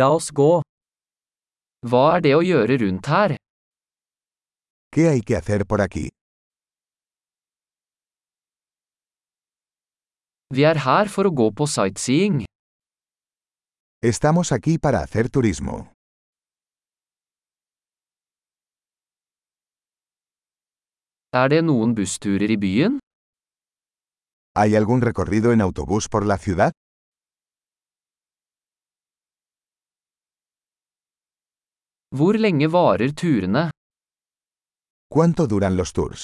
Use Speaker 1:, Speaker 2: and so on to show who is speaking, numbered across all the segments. Speaker 1: La oss gå. Hva er det å gjøre rundt her?
Speaker 2: ¿Qué hay que hacer por aquí?
Speaker 1: Vi er her for å gå på sightseeing.
Speaker 2: Estamos aquí para hacer turismo.
Speaker 1: Er det noen bussturer i byen?
Speaker 2: ¿Hay algún recorrido en autobús por la ciudad?
Speaker 1: Hvor lenge varer turene?
Speaker 2: ¿Cuánto duran los tours?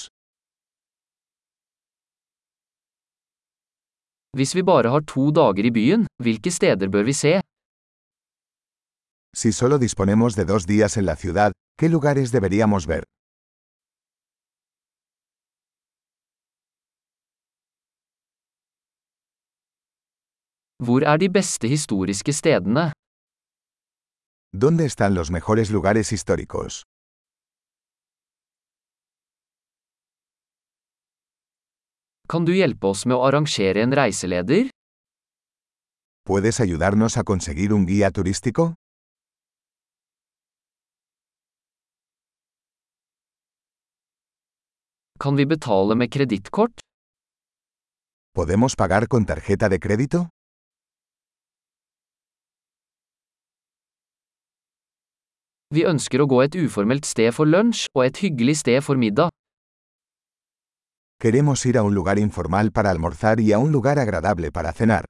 Speaker 1: Hvis vi bare har to dager i byen, hvilke steder bør vi se?
Speaker 2: Si solo disponemos de dos días en la ciudad, ¿qué lugares deberíamos ver?
Speaker 1: Hvor er de beste historiske stedene?
Speaker 2: ¿Dónde están los mejores lugares históricos?
Speaker 1: Kan du hjelpe oss med å arrangere en reiseleder?
Speaker 2: ¿Puedes ayudarnos a conseguir un guía turístico?
Speaker 1: Kan vi betale med kredittkort?
Speaker 2: ¿Podemos pagar con tarjeta de crédito?
Speaker 1: Vi ønsker å gå et uformelt sted for lunsj og et hyggelig sted for middag.
Speaker 2: Queremos ir a un lugar informal para almorzar y a un lugar agradable para cenar.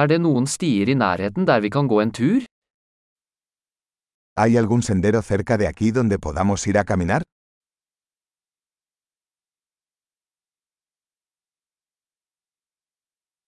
Speaker 1: Er det noen stier i nærheten der vi kan gå en tur?
Speaker 2: ¿Hay algún sendero cerca de aquí donde podamos ir a caminar?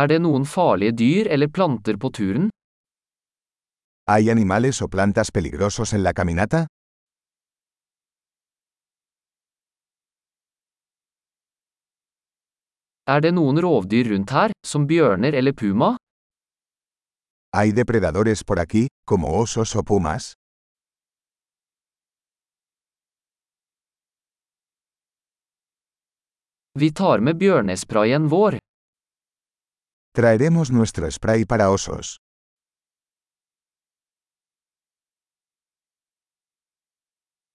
Speaker 1: Er det noen farlige dyr eller planter på turen?
Speaker 2: ¿Hay animales o plantas peligrosos en la caminata?
Speaker 1: Er det noen rovdyr rundt her, som bjørner eller puma?
Speaker 2: ¿Hay depredadores por aquí, como osos o pumas?
Speaker 1: Vi tar med bjørnesprayen vår.
Speaker 2: Traeremos nuestro spray para osos.